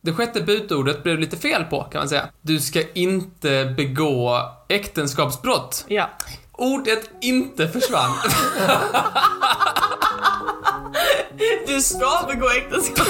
Det sjätte budordet blev lite fel på, kan man säga. Du ska inte begå äktenskapsbrott. Ja. Ordet inte försvann. Du ska begå äktenskap.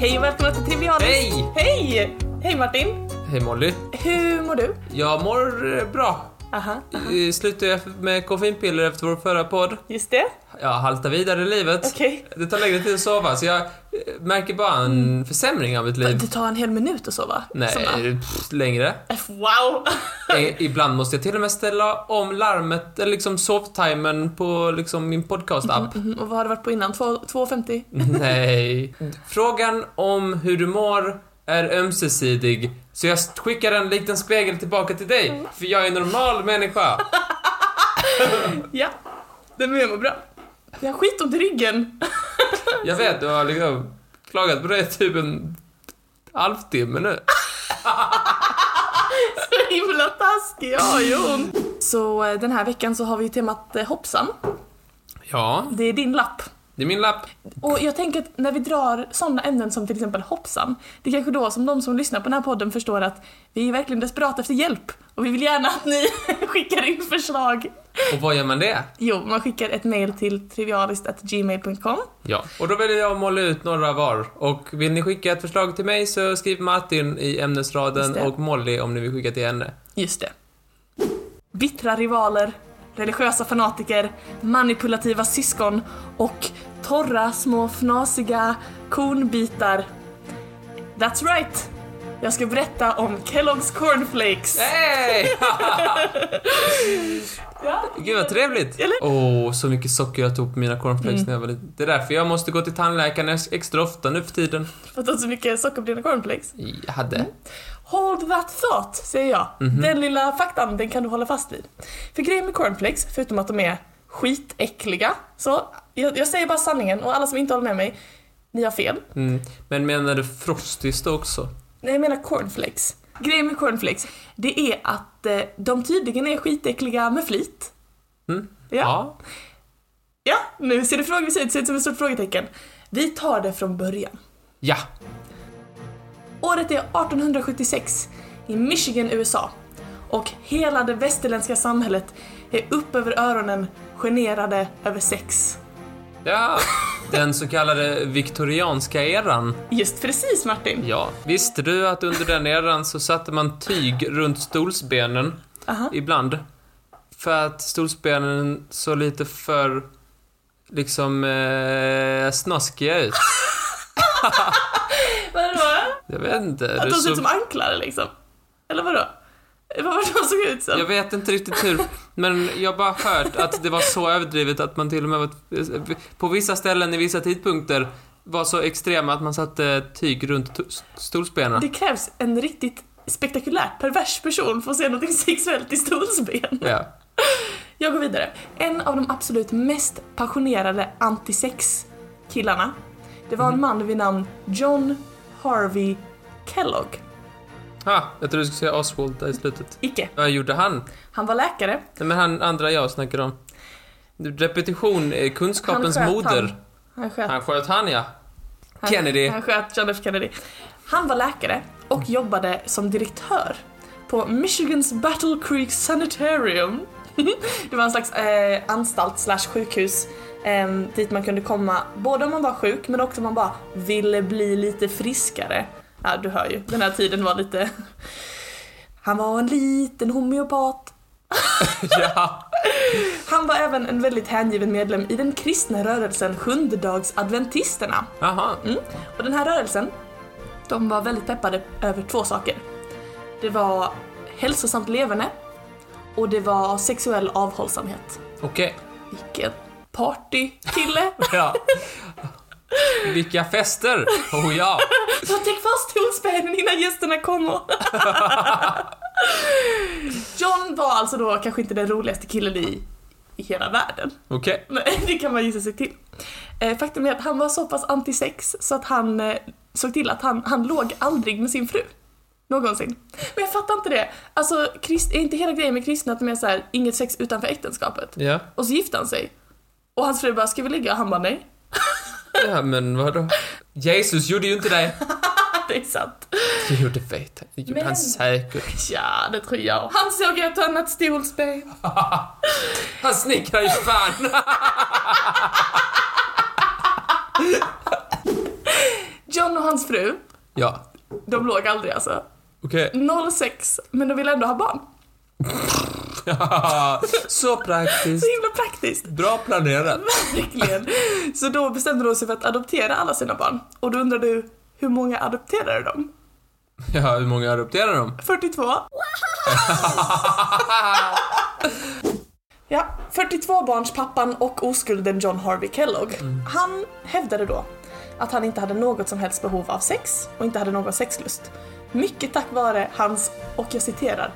Hej och välkomna till Trivialen. Hej! Hej! Hej Martin! Hej Molly. Hur mår du? Jag mår eh, bra. Aha, Eh, Slutade jag med koffeinpiller efter vår förra podd. just det. Jag haltar vidare i livet. Okej. Mm. Det tar längre tid att sova, så jag eh, märker bara en försämring av mitt liv. Det tar en hel minut att sova. Nej, Som bara, pff, längre. Wow! Eh, Ibland måste jag till och med ställa om larmet, eller liksom sovtimern på liksom min podcast-app. Mhm, Och vad har det varit på innan? Två- 2.50? Nej. Mm. Frågan om hur du mår är ömsesidig, så jag skickar en liten spegel tillbaka till Mm. dig, för jag är en normal människa. Ja, det men jag mår bra. Jag har skitont i ryggen. Jag vet, du har liksom klagat på det i typ en halvtimme nu. Så himla taskig, jag har ju ont. Så eh, den här veckan så har vi ju temat eh, hoppsan. Ja, Det är din lapp. det är min lapp. Och jag tänker att när vi drar sådana ämnen som till exempel hoppsan, det är kanske då som de som lyssnar på den här podden förstår att vi är verkligen desperata efter hjälp och vi vill gärna att ni skickar in förslag. Och vad gör man det? Jo, man skickar ett mail till trivialist.gmail.com. Ja. Och då väljer jag att måla ut några var. Och vill ni skicka ett förslag till mig så skriv Martin i Just ämnesraden det. och Molly om ni vill skicka till henne. Just det. Bittra rivaler, religiösa fanatiker, manipulativa syskon och torra små fnasiga kornbitar. That's right! Jag ska berätta om Kellogg's cornflakes. Äh, Hej! Gud vad trevligt! Eller? Mm. Åh, så mycket socker jag tog på mina cornflakes när jag var liten. Det är därför jag måste gå till tandläkaren ex- extra ofta nu för tiden. För att det är så mycket socker på dina cornflakes. Jag hade. Hold that thought, säger jag. Mhm. Den lilla faktan, den kan du hålla fast vid. För grejen med cornflakes, förutom att de är skitäckliga, så jag, jag säger bara sanningen och alla som inte håller med mig, ni har fel. Mm. Men menar du Frosties då också? Nej, jag menar cornflakes. Grejen med cornflakes, det är att eh, de tydligen är skitäckliga med flit. Mm. Ja. ja, nu ser det frågvis ut, ser ut som ett stort frågetecken. Vi tar det från början. Ja. Året är 1876 i Michigan, USA. Och hela det västerländska samhället är upp över öronen generade över sex. Ja. Den så kallade viktorianska eran. Just precis Martin! Ja. Visste du att under den eran så satte man tyg runt stolsbenen Aha. ibland? För att stolsbenen såg lite för liksom eh, snaskiga ut. Vadå? Jag vet inte. Att du de ser såg- ut som anklare liksom? Eller vadå? Vad var det de såg ut som? Jag vet inte riktigt hur, men jag har bara hört att det var så överdrivet att man till och med var, på vissa ställen i vissa tidpunkter var så extrema att man satte tyg runt to- stolsbenen. Det krävs en riktigt spektakulärt pervers person för att se något sexuellt i stolsben. Ja. Jag går vidare. En av de absolut mest passionerade antisex-killarna, det var en man vid namn John Harvey Kellogg. Ah, jag trodde du skulle säga Oswald där i slutet. Icke. Vad gjorde han? Nej, Han var läkare. men han andra jag snackar om. Repetition är kunskapens han sköt moder. Han, han sköt Han sköt han, ja. Ah, han, Kennedy. Han sköt John F Kennedy. Han var läkare och jobbade som direktör på Michigans Battle Creek Sanitarium. det var en slags eh, anstalt slash sjukhus eh, dit man kunde komma både om man var sjuk men också om man bara ville bli lite friskare. Ja, du hör ju, den här tiden var lite... Han var en liten homeopat. ja. Han var även en väldigt hängiven medlem i den kristna rörelsen Sjundedagsadventisterna. Jaha. Och den här rörelsen, de var väldigt peppade över två saker. Det var hälsosamt leverne och det var sexuell avhållsamhet. Okej. Vilken partykille! Ja. Vilka fester! Oh ja! Täck fast stolsbenen innan gästerna kommer! John var alltså då kanske inte den roligaste killen i, i hela världen. Okej. Nej, det kan man gissa sig till. Eh, faktum är att han var så pass antisex så att han eh, såg till att han, han låg aldrig med sin fru. Någonsin. Men jag fattar inte det. Alltså, krist, är inte hela grejen med kristna att de är så här, inget sex utanför äktenskapet? Ja, Och så gifte han sig. Och hans fru bara, ska vi ligga? Och han bara, nej. ja men vadå? Jesus gjorde ju inte det. Det är sant. Det gjorde vet jag. Det gjorde Men- han säkert. Ja, det tror jag. Han såg ett annat stolsben. Han snickrar ju fan. John och hans fru, Ja, de låg aldrig alltså. okej. 06, men de ville ändå ha barn. Så praktiskt. Så himla praktiskt. Bra planerat. Verkligen. Så då bestämde de sig för att adoptera alla sina barn. Och då undrar du, hur många adopterade de? Ja, hur många adopterar de? 42? Ja, 42-barnspappan och oskulden John Harvey Kellogg. Han hävdade då att han inte hade något som helst behov av sex och inte hade någon sexlust. Mycket tack vare hans, och jag citerar,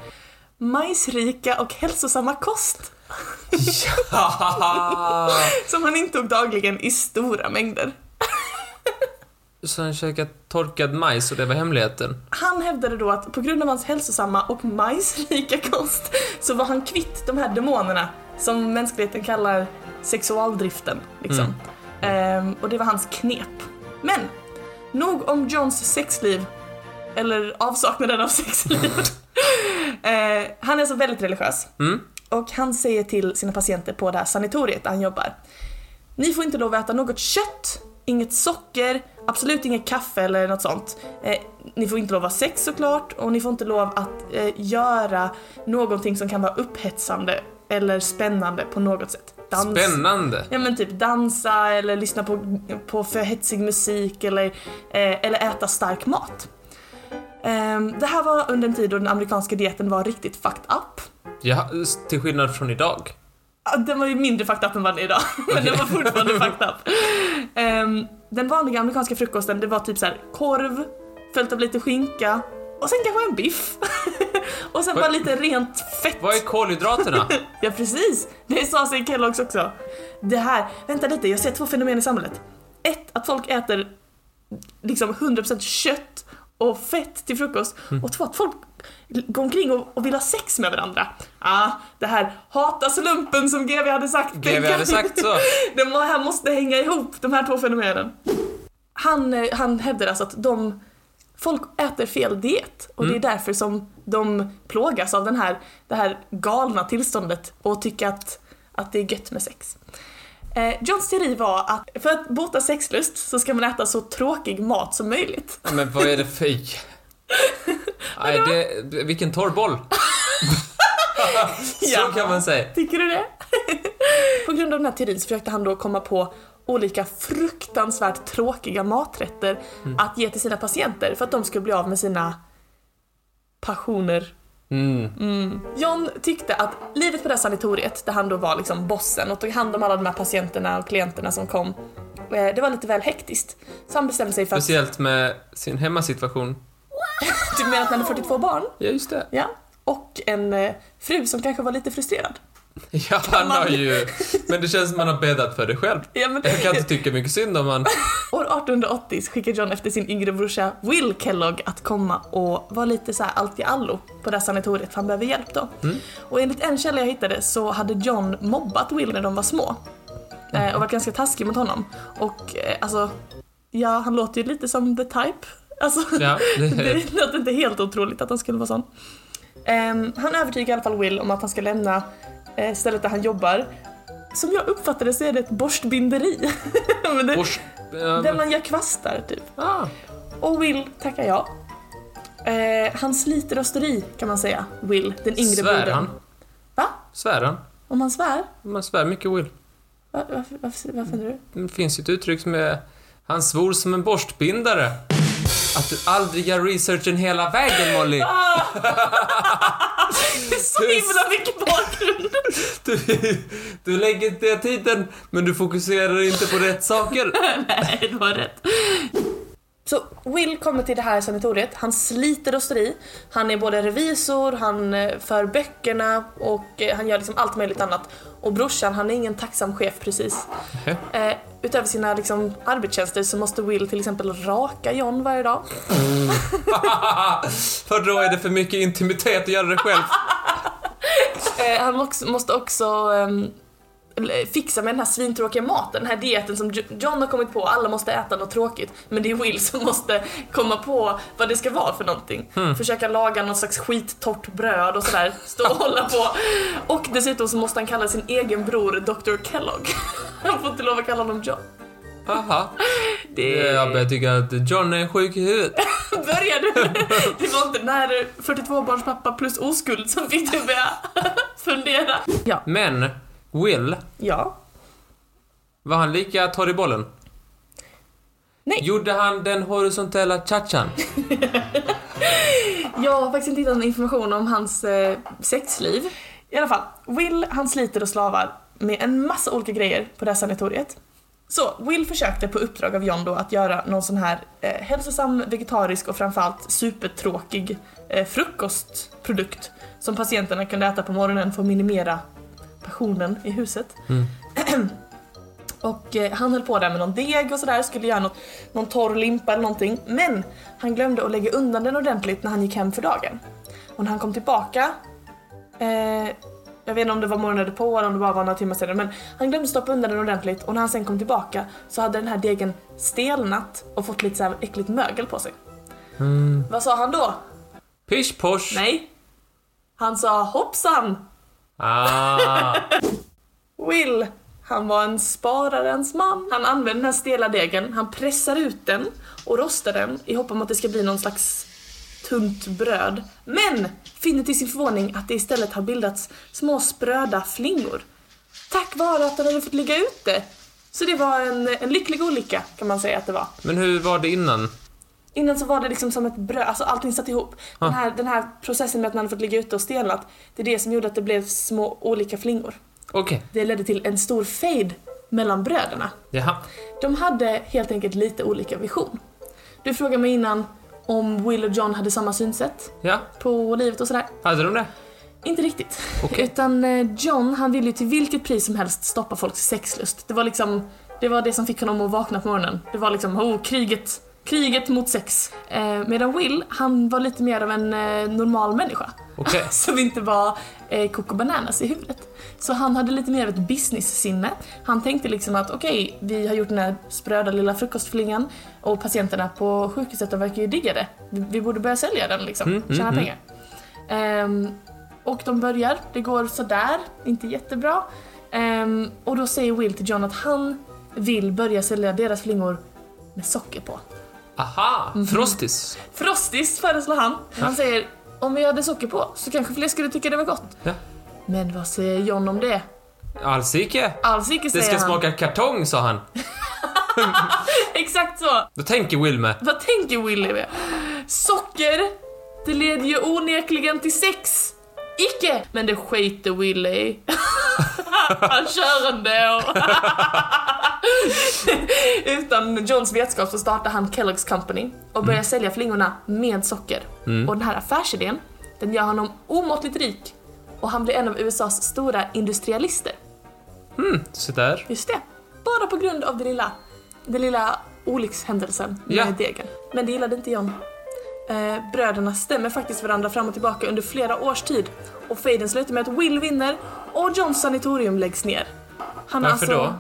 majsrika och hälsosamma kost Ja. som han intog dagligen i stora mängder. Så han käkade torkad majs och det var hemligheten. Han hävdade då att på grund av hans hälsosamma och majsrika kost så var han kvitt de här demonerna som mänskligheten kallar sexualdriften. Liksom. Ehm, och det var hans knep. Men, nog om Johns sexliv. Eller avsaknaden av sexliv. Eh, han är alltså väldigt religiös. Och han säger till sina patienter på det här sanatoriet där han jobbar. Ni får inte lov att äta något kött, inget socker, absolut inget kaffe eller något sånt. Eh, ni får inte lov att ha sex såklart och ni får inte lov att eh, göra någonting som kan vara upphetsande eller spännande på något sätt. Dans. Spännande. Ja men typ dansa eller lyssna på, på för hetsig musik eller, eh, eller äta stark mat. Ehm, det här var under en tid då den amerikanska dieten var riktigt fucked up. Ja, till skillnad från idag. Ja, Den var ju mindre fucked up än vad den är idag, men den var fortfarande fucked up. Ehm, den vanliga amerikanska frukosten det var typ så här korv, följt av lite skinka och sen kanske en biff. och sen Vad- bara lite rent fett. Vad är kolhydraterna? Ja precis, det sa sig Kellogg's också. Det här, vänta lite, jag ser två fenomen i samhället. Ett, att folk äter liksom 100% kött och fett till frukost. Mm. Och två, att folk går omkring och, och vill ha sex med varandra. Ah, det här, hata slumpen som GV hade sagt. GW hade sagt så. De här måste hänga ihop, de här två fenomenen. Han, eh, han hävdar alltså att de Folk äter fel diet och det är därför som de plågas av den här, det här galna tillståndet och tycker att, att det är gött med sex. Eh, Johns teori var att för att bota sexlust så ska man äta så tråkig mat som möjligt. Men vad är det för... Nej, det, vilken torr boll. Så Ja. kan man säga. Tycker du det? på grund av den här teorin så försökte han då komma på olika fruktansvärt tråkiga maträtter Mm. att ge till sina patienter för att de skulle bli av med sina passioner Mm. John tyckte att livet på det här sanatoriet, där han då var liksom bossen och tog hand om alla de här patienterna och klienterna som kom, eh, det var lite väl hektiskt. Så han bestämde sig för att... Speciellt med sin hemmasituation. Du menar att han hade 42 barn? Ja, just det. Ja. Och en eh, fru som kanske var lite frustrerad. Ja, han man- har ju... Men det känns som man har bäddat för det själv. Ja, men, Jag kan inte tycka mycket synd om han. År 1880 så skickade John efter sin yngre brorsa Will Kellogg att komma och vara lite så här allt i allo på det här sanatoriet för han behöver hjälp då. Och enligt en källa jag hittade så hade John mobbat Will när de var små. Eh, Och varit ganska taskig mot honom. Och eh, alltså, ja han låter ju lite som the type. Alltså, Ja, det, det låter inte helt otroligt att han skulle vara sån. Ehm, han övertygar i alla fall Will om att han ska lämna eh, stället där han jobbar. Som jag uppfattade så är det ett borstbinderi. Men det, Borst... ja, där men- man gör kvastar typ. Ah, Och Will tackar ja. Eh, han sliter österi kan man säga, Will, den yngre svär brodern. han? Va? Svär han? Om han svär? Man svär mycket, Will. Va- Varför, varför, varför du? Det finns ju ett uttryck som är... Han svor som en borstbindare. Att du aldrig gör researchen hela vägen, Molly. Det är Ah, så himla mycket bakgrund! Du, du lägger inte tiden, men du fokuserar inte på rätt saker. Nej, du har rätt. Så Will kommer till det här sanatoriet, han sliter österi, han är både revisor, han eh, för böckerna och eh, han gör liksom allt möjligt annat. Och brorsan, han är ingen tacksam chef precis. Nähä. Eh, Utöver sina liksom, arbetstjänster så måste Will till exempel raka John varje dag. För då är det för mycket intimitet att göra det själv. Eh, han också, måste också ehm, l- fixa med den här svintråkiga maten, den här dieten som Jo- John har kommit på. Alla måste äta något tråkigt, men det är Will som måste komma på vad det ska vara för någonting. Försöka laga någon slags skittorrt bröd och sådär, stå och hålla på. Och dessutom så måste han kalla sin egen bror Dr. Kellogg. Han får inte lov att kalla honom John. Aha. Det Eh, Jag börjar tycka att John är sjuk i huvudet. börjar du. Det var inte när 42 barns pappa plus oskuld som fick dig börja fundera. Ja. Men Will, Ja. var han lika torr i bollen? Nej. Gjorde han den horisontella cha-chan? Jag har faktiskt inte hittat någon information om hans eh, sexliv. I alla fall, Will han sliter och slavar med en massa olika grejer på det här sanatoriet. Så Will försökte på uppdrag av John då att göra någon sån här eh, hälsosam, vegetarisk och framförallt supertråkig eh, frukostprodukt som patienterna kunde äta på morgonen för att minimera passionen i huset. Mm. och eh, han höll på där med någon deg och sådär, skulle göra något, någon torr limpa eller någonting. Men han glömde att lägga undan den ordentligt när han gick hem för dagen. Och när han kom tillbaka, eh, jag vet inte om det var morgonen på eller om det bara var några timmar senare, men han glömde stoppa undan den ordentligt och när han sen kom tillbaka så hade den här degen stelnat och fått lite så här äckligt mögel på sig. Vad sa han då? Pish posh! Nej. Han sa hoppsan! Ah. Will, han var en spararens man. Han använde den här stela degen, han pressar ut den och rostar den i hopp om att det ska bli någon slags tunt bröd. Men finner till sin förvåning att det istället har bildats små spröda flingor. Tack vare att den hade fått ligga ute. Så det var en, en lycklig olycka kan man säga att det var. Men hur var det innan? Innan så var det liksom som ett bröd, alltså allting satt ihop. Den, här, den här processen med att man hade fått ligga ute och stelnat, det är det som gjorde att det blev små olika flingor. Okej, Det ledde till en stor fejd mellan bröderna. jaha. De hade helt enkelt lite olika vision. Du frågade mig innan om Will och John hade samma synsätt Ja, på livet och sådär. hade de det? Inte riktigt. Okej. Utan eh, John, han ville ju till vilket pris som helst stoppa folks sexlust. Det var liksom, det var det som fick honom att vakna på morgonen. Det var liksom, oh, kriget, kriget mot sex. Eh, medan Will, han var lite mer av en eh, normal människa. Okej. Som inte var eh, Coco Bananas i huvudet. Så han hade lite mer av ett business-sinne. Han tänkte liksom att okej, vi har gjort den här spröda lilla frukostflingan och patienterna på sjukhuset de verkar ju digga det. Vi, vi borde börja sälja den liksom, Mm, mm, tjäna mm. pengar. Ehm, och de börjar, det går sådär, inte jättebra. Ehm, och då säger Will till John att han vill börja sälja deras flingor med socker på. Aha, Mhm. frostis. Frostis föreslår han. Han säger om vi hade socker på så kanske fler skulle tycka det var gott. Ja. Men vad säger John om det? Alls icke. Alls icke Det säger ska han. smaka kartong, sa han. Exakt så! Då tänker Will med. Vad tänker Willy med? Socker, det leder ju onekligen till sex. Icke! Men det skiter Willy i. Han kör ändå. Utan Johns vetskap så startar han Kellogg's Company och börjar sälja flingorna med socker. Och den här affärsidén, den gör honom omåttligt rik och han blir en av USAs stora industrialister. Så där. Just det. Bara på grund av den lilla, den lilla olyckshändelsen med Ja. degen. Men det gillade inte John. Eh, bröderna stämmer faktiskt varandra fram och tillbaka under flera års tid. Och fejden slutar med att Will vinner och Johns sanatorium läggs ner. Han har Varför då?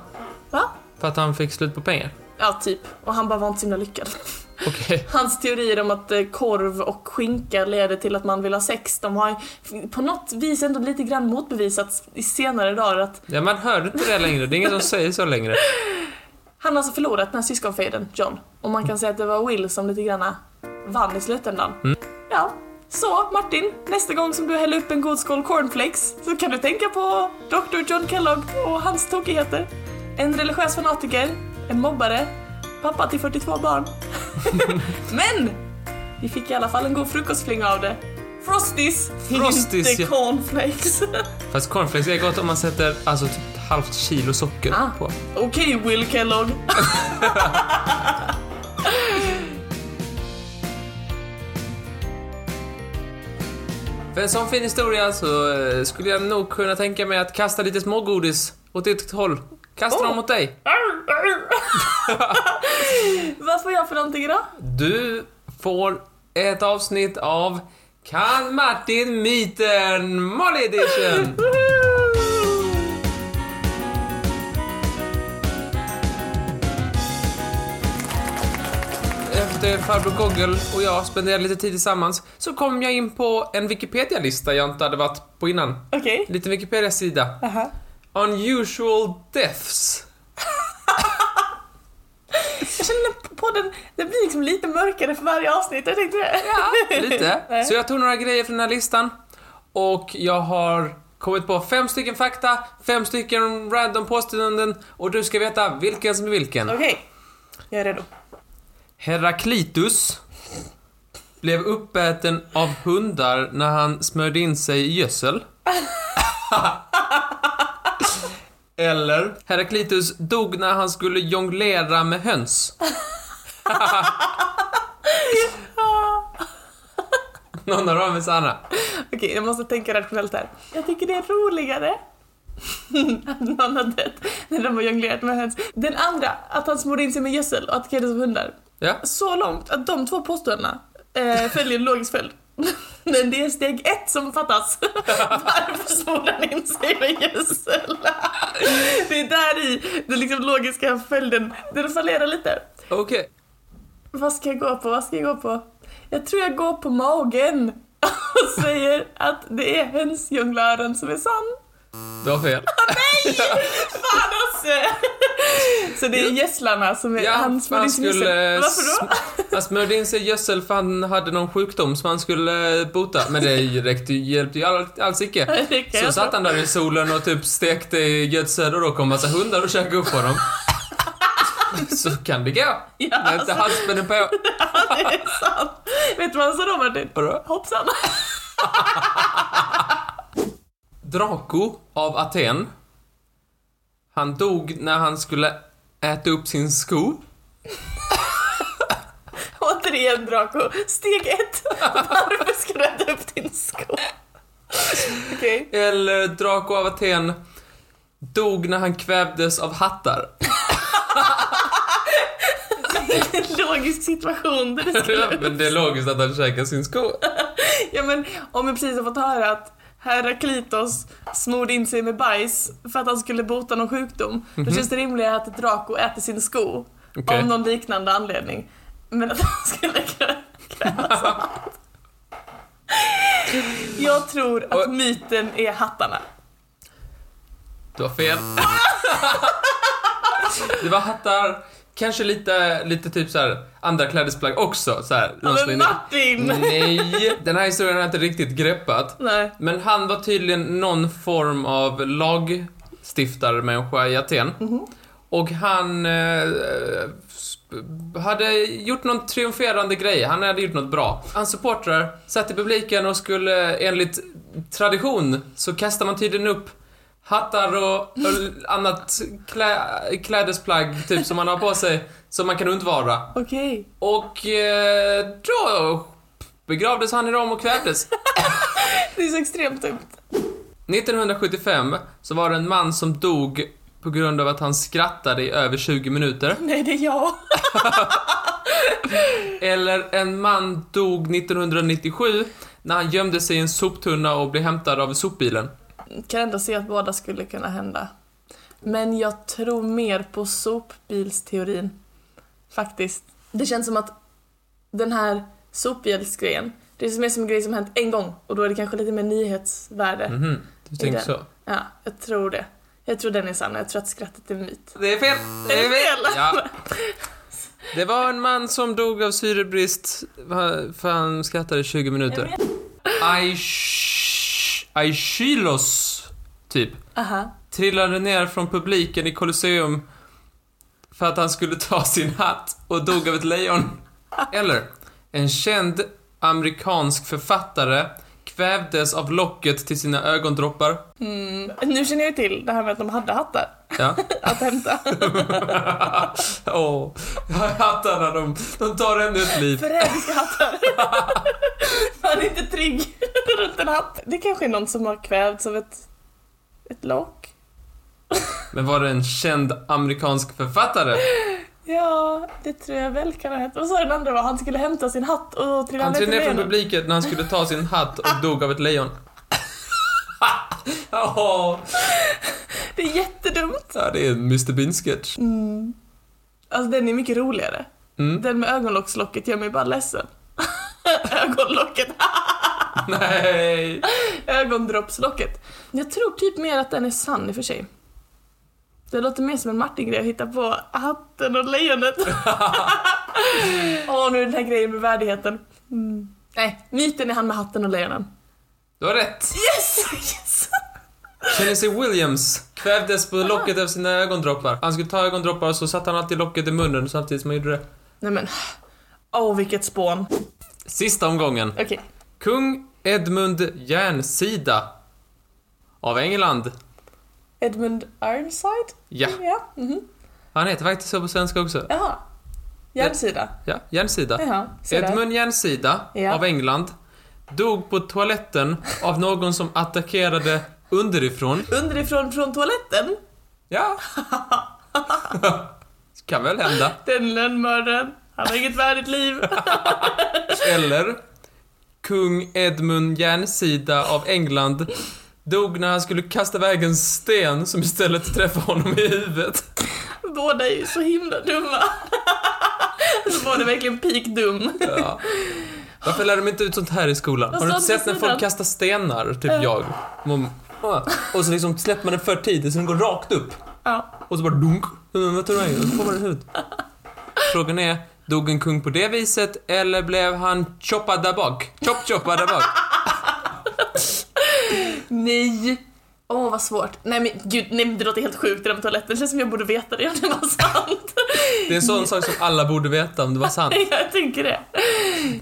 Va? För att han fick slut på pengar. Ja, typ. Och han bara var inte så himla lyckad. Okej. Hans teorier om att eh, korv och skinka leder till att man vill ha sex, de har ju på något vis ändå lite grann motbevisats i senare dagar att Ja, man hör inte det längre. Det är ingen som säger så längre. Han har alltså förlorat den här syskonfejden, John. Och man kan säga att det var Will som lite grann vann i slutändan. Mm. Ja, så Martin, nästa gång som du häller upp en god skål cornflakes så kan du tänka på Dr. John Kellogg och hans tokigheter. En religiös fanatiker, en mobbare, pappa till 42 barn. Men! Vi fick i alla fall en god frukostflinga av det. Frosties, Frosties, inte ja. cornflakes. Fast cornflakes är gott om man sätter alltså typ ett halvt kilo socker Ah. på. Okej Will Kellogg. För en sån fin historia så eh, skulle jag nog kunna tänka mig att kasta lite smågodis åt ditt håll. Kastar dem Oh. mot dig. Vad får jag för någonting idag? Du får ett avsnitt av Kan Martin myten Molly edition? Efter farbror Goggle och jag spenderade lite tid tillsammans så kom jag in på en Wikipedia-lista jag inte hade varit på innan. Okej. En liten Wikipedia-sida. Aha. Unusual deaths. Jag känner att podden, den blir liksom lite mörkare för varje avsnitt, jag tänkte det. Ja, lite. Nej. Så jag tog några grejer från den här listan och jag har kommit på fem stycken fakta, fem stycken random påståenden och du ska veta vilken som är vilken. Okej, jag är redo. Heraklitus blev uppäten av hundar när han smörjde in sig i gödsel. Eller Heraklitus dog när han skulle jonglera med höns. Någon av dem är sanna. Okej, jag måste tänka rationellt här. Jag tycker det är roligare att någon har dött när de har jonglerat med höns. Den andra, att han smorde in sig med gödsel och attackerades av hundar. Ja. Så långt att de två påståendena eh, följer en logisk följd. Men det är steg ett som fattas. Varför smorde han in sig med gödsel? Det är där i den liksom logiska följden, den fallerar lite. Okej. Vad ska jag gå på? Vad ska jag gå på? Jag tror jag går på magen och säger att det är hönsjonglören som är sann. Du har fel. Fan också! Så det är gässlarna som är Ja, han som hade han sin skulle... gissel. Varför då? sm- Han smörjde in sig i gödsel för han hade någon sjukdom som han skulle eh, bota. Men det räckte ju, hjälpte ju all- alls icke. Det kan Så jag satt tro. han där i solen och typ stekte i gödsel och då kom massa hundar och käkade upp honom. Så kan det gå. Ja, När inte alltså, halsbenen på. det är sant. Vet du vad han sa då Martin? Vadå? Hoppsan. Draco av Aten. Han dog när han skulle äta upp sin sko. Återigen Draco. Steg ett. Varför ska du äta upp din sko? Okej. Eller Draco av Aten dog när han kvävdes av hattar. En logisk situation. Där det skulle... Men det är logiskt att han käkar sin sko. Ja men om vi precis har fått höra att Heraklitos smorde in sig med bajs för att han skulle bota någon sjukdom. Då känns det rimligare att Draco äter sin sko. Okej. Av någon liknande anledning. Men att han skulle krä- krävas av allt. Jag tror att Och- myten är hattarna. Du har fel. Det var hattar, kanske lite, lite typ så här andra klädesplagg också. Så här, någon som är- Men Martin! Mm. Nej, den här historien har jag inte riktigt greppat. Nej. Men han var tydligen någon form av lagstiftarmänniska i Aten. Och han eh, sp- hade gjort någon triumferande grej, han hade gjort något bra. Hans supportrar satt i publiken och skulle enligt tradition så kastar man tydligen upp hattar och och annat klä, klädesplagg typ som man har på sig som man kan undvara. Okej. Och eh, då begravdes han i Rom och kvävdes. Det är så extremt dumt. 1975 så var det en man som dog på grund av att han skrattade i över 20 minuter. Nej, det är jag. Eller en man dog 1997 när han gömde sig i en soptunna och blev hämtad av sopbilen. kan ändå se att båda skulle kunna hända. Men jag tror mer på sopbilsteorin. Faktiskt. Det känns som att den här sopbilsgrejen, det är mer som en grej som hänt en gång och då är det kanske lite mer nyhetsvärde. Mhm, du tänker så. Ja, jag tror det. Jag tror den är sann, jag tror att skrattet är en myt. Det är fel! Det är fel. Ja. Det var en man som dog av syrebrist va- för han skrattade i 20 minuter. Aish- Aishylos, typ. Aha. trillade ner från publiken i Colosseum för att han skulle ta sin hatt och dog av ett lejon. Eller, en känd amerikansk författare kvävdes av locket till sina ögondroppar. Mm. Nu känner jag ju till det här med att de hade hattar Ja. att hämta. Åh, hattarna de, de tar ännu ett liv. Förrädiska hattar. Man är inte trygg runt en hatt. Det kanske är någon som har kvävts av ett, ett lock. Men var det en känd amerikansk författare? Ja, det tror jag väl kan ha hänt. Vad sa den andra var? Han skulle hämta sin hatt och trilla Han trillade ner till ner från benen. publiken när han skulle ta sin hatt och dog av ett lejon. Åh, Det är jättedumt. ja, det är en Mr Bean-sketch. Alltså den är mycket roligare. Mm. Den med ögonlockslocket gör mig bara ledsen. Ögonlocket. Nej! Ögondroppslocket. Jag tror typ mer att den är sann i och för sig. Det låter mer som en Martin-grej att hitta på hatten och lejonet. Åh, nu är den här grejen med värdigheten. Mm. Nej, myten är han med hatten och lejonen. Du har rätt. Yes! yes! Tennessee Williams kvävdes på locket av sina ögondroppar. Han skulle ta ögondroppar och så satte han alltid locket i munnen samtidigt som han gjorde det. Nej men, åh vilket spån. Sista omgången. Okej. Kung Edmund Järnsida av England. Edmund Ironside? Ja, Ja. mhm. han heter faktiskt så på svenska också. Jaha. Hjärnsida? Ja, Järnsida. Jaha. ser där. Edmund Järnsida Ja. av England dog på toaletten av någon som attackerade underifrån. Underifrån från toaletten? Ja. kan väl hända. Den lönnmördaren. Han har inget värdigt liv. Eller Kung Edmund Järnsida av England dog när han skulle kasta iväg en sten som istället träffade honom i huvudet. Båda är ju så himla dumma. Alltså, Båda är verkligen peak-dum. Ja. Varför lär de inte ut sånt här i skolan? Vad Har du sa inte du sett när sedan? folk kastar stenar? Typ jag. Man, ah. och så liksom släpper man den för tidigt så den går rakt upp. Ja. Och så bara dunk. Mm, Vad tar du vägen? Så får man den ut. Frågan är, dog en kung på det viset eller blev han choppad där bak? Chop choppad där bak. Nej. Åh, vad svårt. Nej men gud, nej, men det låter helt sjukt det där med toaletten. Det känns som jag borde veta det om det var sant. Det är en sån sak som alla borde veta om det var sant. Jag tänker det.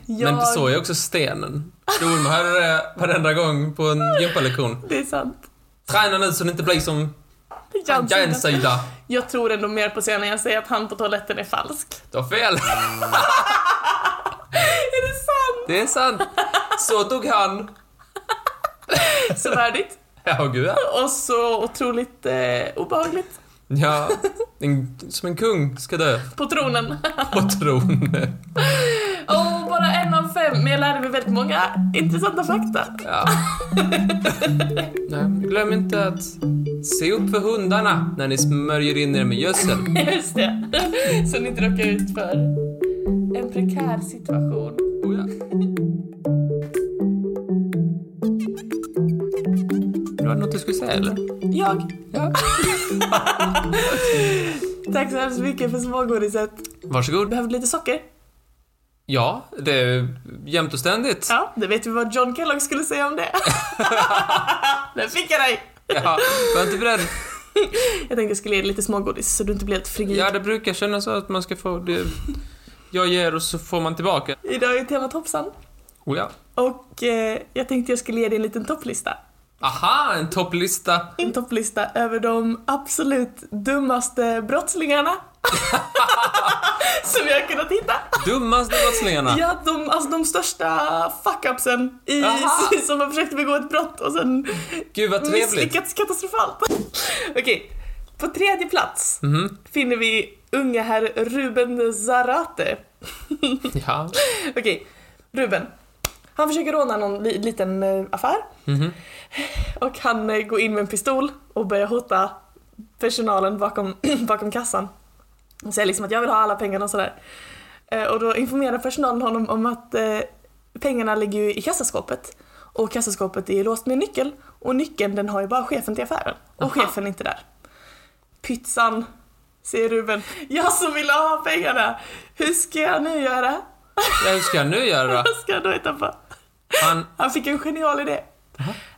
Jag... Men det såg jag också stenen. Gjorde man hörde det varenda gång på en gympalektion. Det är sant. Träna nu så det inte blir som järnsida. Jag tror ändå mer på scenen när jag säger att han på toaletten är falsk. Du har fel. Är det sant? Det är sant. Så dog han. Så värdigt. Ja, gud ja. Och så otroligt eh, obehagligt. ja en, som en kung ska dö På tronen. på tron. Och bara en av fem, men jag lärde mig väldigt många intressanta fakta. Ja. Nej, glöm inte att se upp för hundarna när ni smörjer in er med gödsel. Just det. Så ni inte råkar ut för en prekär situation. Oh, ja. Du hade något du skulle säga eller? Jag. Ja. Tack så hemskt mycket för smågodiset. Varsågod. Behövde lite socker? Ja, det är jämt och ständigt. Ja, det vet vi vad John Kellogg skulle säga om det. Där fick jag dig! Ja, var inte beredd. Jag tänkte jag skulle ge dig lite smågodis så du inte blir helt frigid. Ja, det brukar kännas så att man ska få det. Jag ger och så får man tillbaka. Idag är temat hoppsan. Oh, ja. Och eh, jag tänkte jag skulle ge dig en liten topplista. Aha, en topplista. En topplista över de absolut dummaste brottslingarna. Som jag har kunnat hitta. Dummaste brottslingarna. Ja, de, alltså de största fuck-upsen i, Aha. som har försökt begå ett brott och sen Gud vad trevligt. misslyckats katastrofalt. Okej, på tredje plats Mhm. finner vi unga herr Ruben Zarate. Ja. Okej, Ruben. Han försöker råna någon li- liten eh, affär. Mhm. Och han eh, går in med en pistol och börjar hota personalen bakom, bakom kassan. Han säger liksom att jag vill ha alla pengarna och sådär. Eh, Och då informerar personalen honom om att eh, pengarna ligger ju i kassaskåpet. Och kassaskåpet är ju låst med en nyckel. Och nyckeln den har ju bara chefen till affären. Och chefen är inte där. Pyttsan, säger Ruben. Jag som ville ha pengarna! Hur ska jag nu göra? ja, hur ska jag nu göra? Vad ska jag då hitta på? Han... Han fick en genial idé.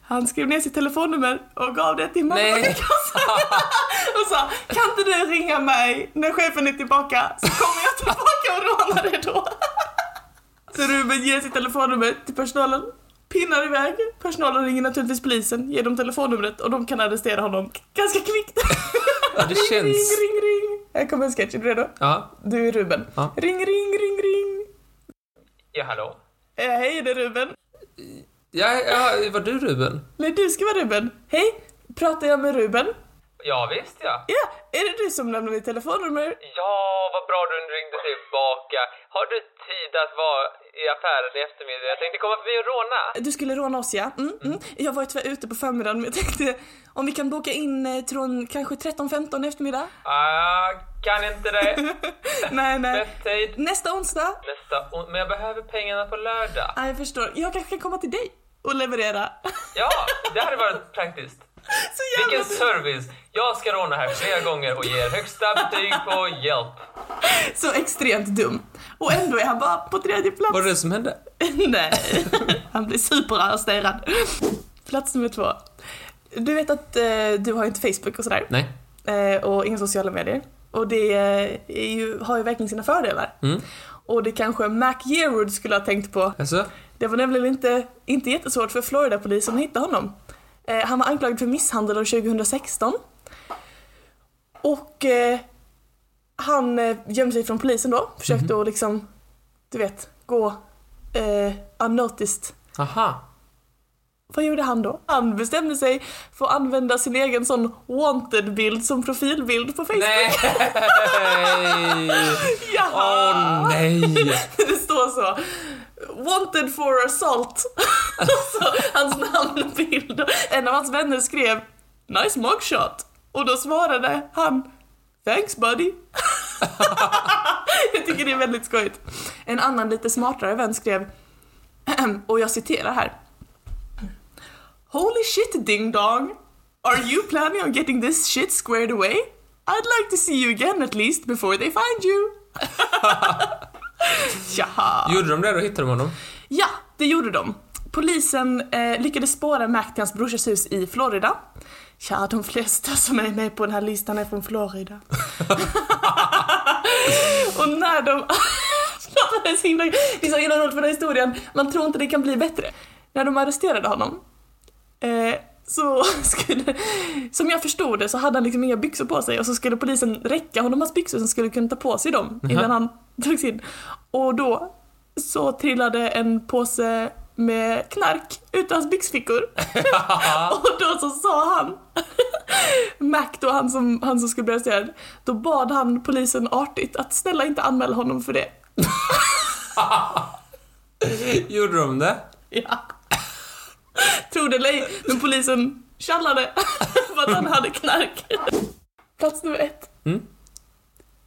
Han skrev ner sitt telefonnummer och gav det till mamma Nej. i kassan. och sa, kan inte du ringa mig när chefen är tillbaka så kommer jag tillbaka och rånar dig då. så Ruben ger sitt telefonnummer till personalen, pinnar iväg. Personalen ringer naturligtvis polisen, ger dem telefonnumret och de kan arrestera honom ganska kvickt. Ja, det ring, känns... ring, ring. Här kommer en sketch, är du redo? Ja. Du är Ruben. Ja. Ring, ring, ring, ring. Ja, hallå? Eh, hej, det är Ruben. Ja, ja, var du Ruben? Nej, du ska vara Ruben. Hej, pratar jag med Ruben? Ja, visst ja. Ja, är det du som lämnar mitt telefonnummer? Ja, vad bra du ringde tillbaka. Har du tid att vara i affären i eftermiddag? Jag tänkte komma förbi och råna. Du skulle råna oss ja. Mm, mm. Jag var tyvärr ute på förmiddagen men jag tänkte om vi kan boka in eh, till runt kanske 13-15 i eftermiddag? Ah, kan inte det. nej, nej. Bäst tid. Nästa onsdag? Nästa on- Men jag behöver pengarna på lördag. Ja, jag förstår. Jag kanske kan komma till dig och leverera. Ja, det hade varit praktiskt. Så jävla Vilken dumt. service! Jag ska råna här flera gånger och ger högsta betyg på hjälp. Så extremt dum. Och ändå är han bara på tredje plats. Vad är det som hände? Nej, han blir superarresterad. Plats nummer två. Du vet att eh, du har ju inte Facebook och sådär. Nej. Eh, och inga sociala medier. Och det eh, är ju, har ju verkligen sina fördelar. Mm. Och det kanske Mac Yearwood skulle ha tänkt på. Alltså? Det var nämligen inte, inte jättesvårt för Florida-polisen att hitta honom. Eh, han var anklagad för misshandel år 2016. Och eh, han eh, gömde sig från polisen då. Försökte att liksom, du vet, gå eh, unnoticed. Aha. Vad gjorde han då? Han bestämde sig för att använda sin egen sån wanted-bild som profilbild på Facebook. Nej! Åh Jaha! nej! Det står så. Wanted for assault. så hans namn och bild. En av hans vänner skrev nice mugshot. Och då svarade han thanks buddy. jag tycker det är väldigt skojigt. En annan lite smartare vän skrev och jag citerar här. Holy shit ding dong. Are you planning on getting this shit squared away? I'd like to see you again at least before they find you. Jaha. Gjorde de det då hittade de honom? Ja, det gjorde de. Polisen eh, lyckades spåra Mac till hans brorsas hus i Florida. Ja, de flesta som är med på den här listan är från Florida. Och när de... det är så himla, det är så himla roligt för den här historien, man tror inte det kan bli bättre. När de arresterade honom eh, så skulle, som jag förstod det så hade han liksom inga byxor på sig och så skulle polisen räcka honom hans byxor som skulle kunna ta på sig dem innan han togs in. Och då så trillade en påse med knark ut ur hans byxfickor. och då så sa han, Mac då, han som, han som skulle bli arresterad, då bad han polisen artigt att snälla inte anmäla honom för det. Gjorde de det? Ja. Tro det eller ej, men polisen tjallade för att han hade knark. Plats nummer ett. Mm.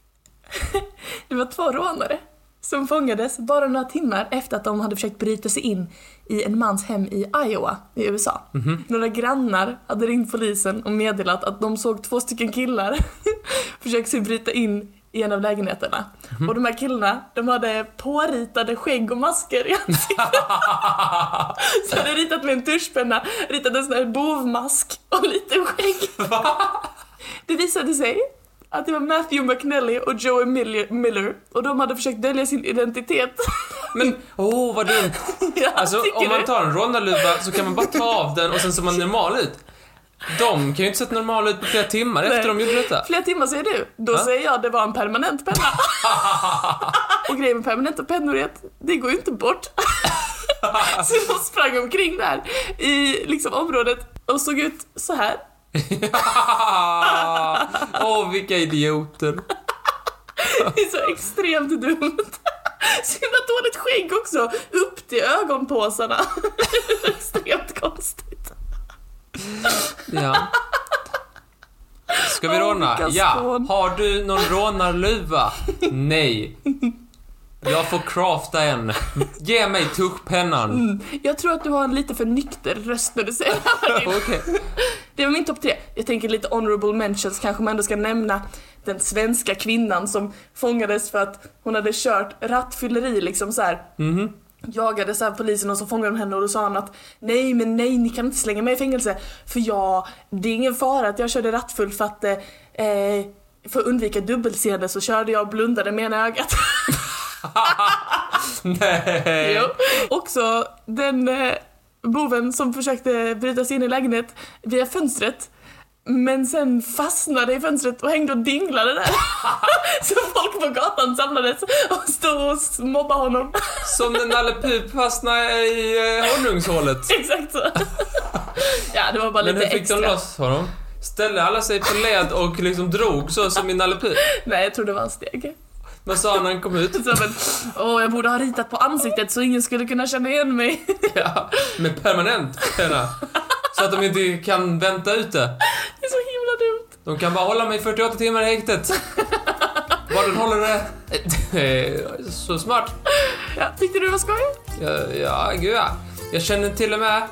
Det var två rånare som fångades bara några timmar efter att de hade försökt bryta sig in i en mans hem i Iowa i USA. Några grannar hade ringt polisen och meddelat att de såg två stycken killar försöka sig bryta in i en av lägenheterna. Och de här killarna, de hade påritade skägg och masker i ansiktet. Så jag hade ritat med en tuschpenna, ritat en sån här bovmask och lite skägg. Det visade sig att det var Matthew McNally och Joey Mil- Miller och de hade försökt dölja sin identitet. Men, åh oh, vad dumt! Ja, Alltså tycker om man du? tar en rondaluva så kan man bara ta av den och sen ser man normal ut. De kan ju inte sett normal ut på flera timmar efter de gjorde detta. Flera timmar säger du. Då Va? säger jag det var en permanent penna. och grejen med permanenta pennor är att det går ju inte bort. så de sprang omkring där i liksom området och såg ut så här. Ah, Åh, vilka idioter. Det är så extremt dumt. Så himla dåligt skägg också. Upp till ögonpåsarna. extremt konstigt. Ja. Ska vi Åh, råna? vilka Ja. skån. Har du någon rånarluva? Nej. Jag får crafta en. Ge mig tuschpennan. Jag tror att du har en lite för nykter röst när du säger det här. Okej. Det var min topp tre. Jag tänker lite honorable mentions kanske man ändå ska nämna den svenska kvinnan som fångades för att hon hade kört rattfylleri liksom så här. Jagades av polisen och så fångade de henne och då sa han att nej men nej ni kan inte slänga mig i fängelse för jag, det är ingen fara att jag körde rattfull för att eh, eh, för att undvika dubbelseende så körde jag och blundade med ena ögat. Nej. Jo. Eh, Också den eh, boven som försökte bryta sig in i lägenhet via fönstret men sen fastnade i fönstret och hängde och dinglade där. Så folk på gatan samlades och stod och mobbade honom. Som den Nalle Puh fastnade i eh, honungshålet. Exakt så. Ja, det var bara Men hur lite fick de extra. loss honom? ställde alla sig på led och liksom drog så som i Nalle Puh. Nej, jag tror det var en steg. Vad sa han när han kom ut? Så, men, åh, jag borde ha ritat på ansiktet så ingen skulle kunna känna igen mig. Ja, med permanent penna. Så att de inte kan vänta ute. Det är så himla dumt. De kan bara hålla mig 48 timmar i häktet. Var den håller det. Eh, Så smart. Ja, tyckte du det var skoj? Ja, ja, gud ja. Jag känner till och med...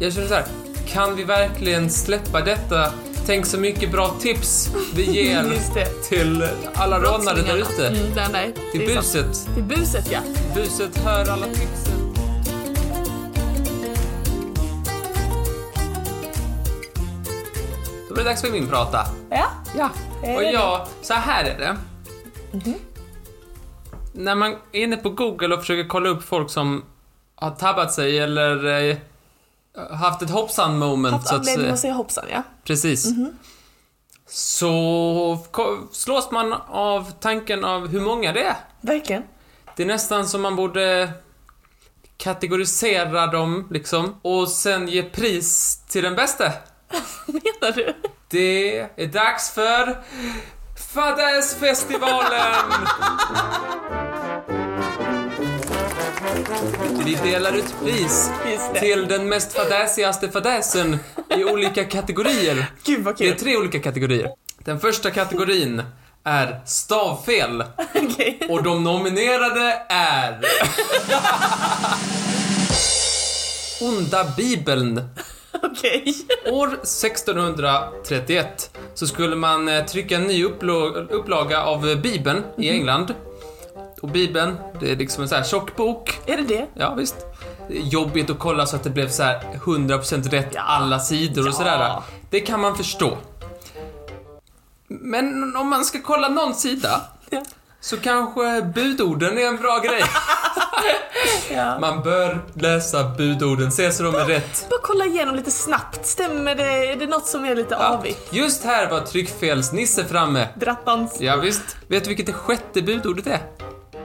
Jag känner så här. Kan vi verkligen släppa detta? Tänk så mycket bra tips vi ger Mm, Just det. till alla rånare där ute. Mm, nej, nej. Till Det är sant. buset. Till buset, ja. Buset hör alla tipsen. Då blir det dags för min prata. Ja. Ja. Är Och det Mhm. jag, så här är det. När man är inne på Google och försöker kolla upp folk som har tabbat sig eller eh, haft ett hoppsan moment Haft så att anledning säga. att Mhm. säga hoppsan, ja. Precis. Så ko- slås man av tanken av hur många det är. Verkligen. Det är nästan som man borde kategorisera dem liksom och sen ge pris till den bästa. Menar du? Det är dags för Fadäsfestivalen! Vi delar ut pris Just det. till den mest fadäsigaste fadäsen i olika kategorier. Gud vad Det är kul. tre olika kategorier. Den första kategorin är stavfel Okej. och de nominerade är... Onda Bibeln Okej. År 1631 så skulle man eh, trycka en ny upplo- upplaga av eh, Bibeln i England. Och Bibeln, det är liksom en sån här tjock bok. Är det det? Ja, visst. Det är Jobbigt att kolla så att det blev så här 100% rätt alla sidor och Ja. sådär. Det kan man förstå. Men om man ska kolla någon sida Ja. så kanske budorden är en bra grej. Ja. Man bör läsa budorden, se så de är rätt. Bara kolla igenom lite snabbt. Stämmer det? Är det något som är lite Ja, avigt? Just här var tryckfelsnisse framme. Drattans. Ja, visst. Vet du vilket det sjätte budordet är?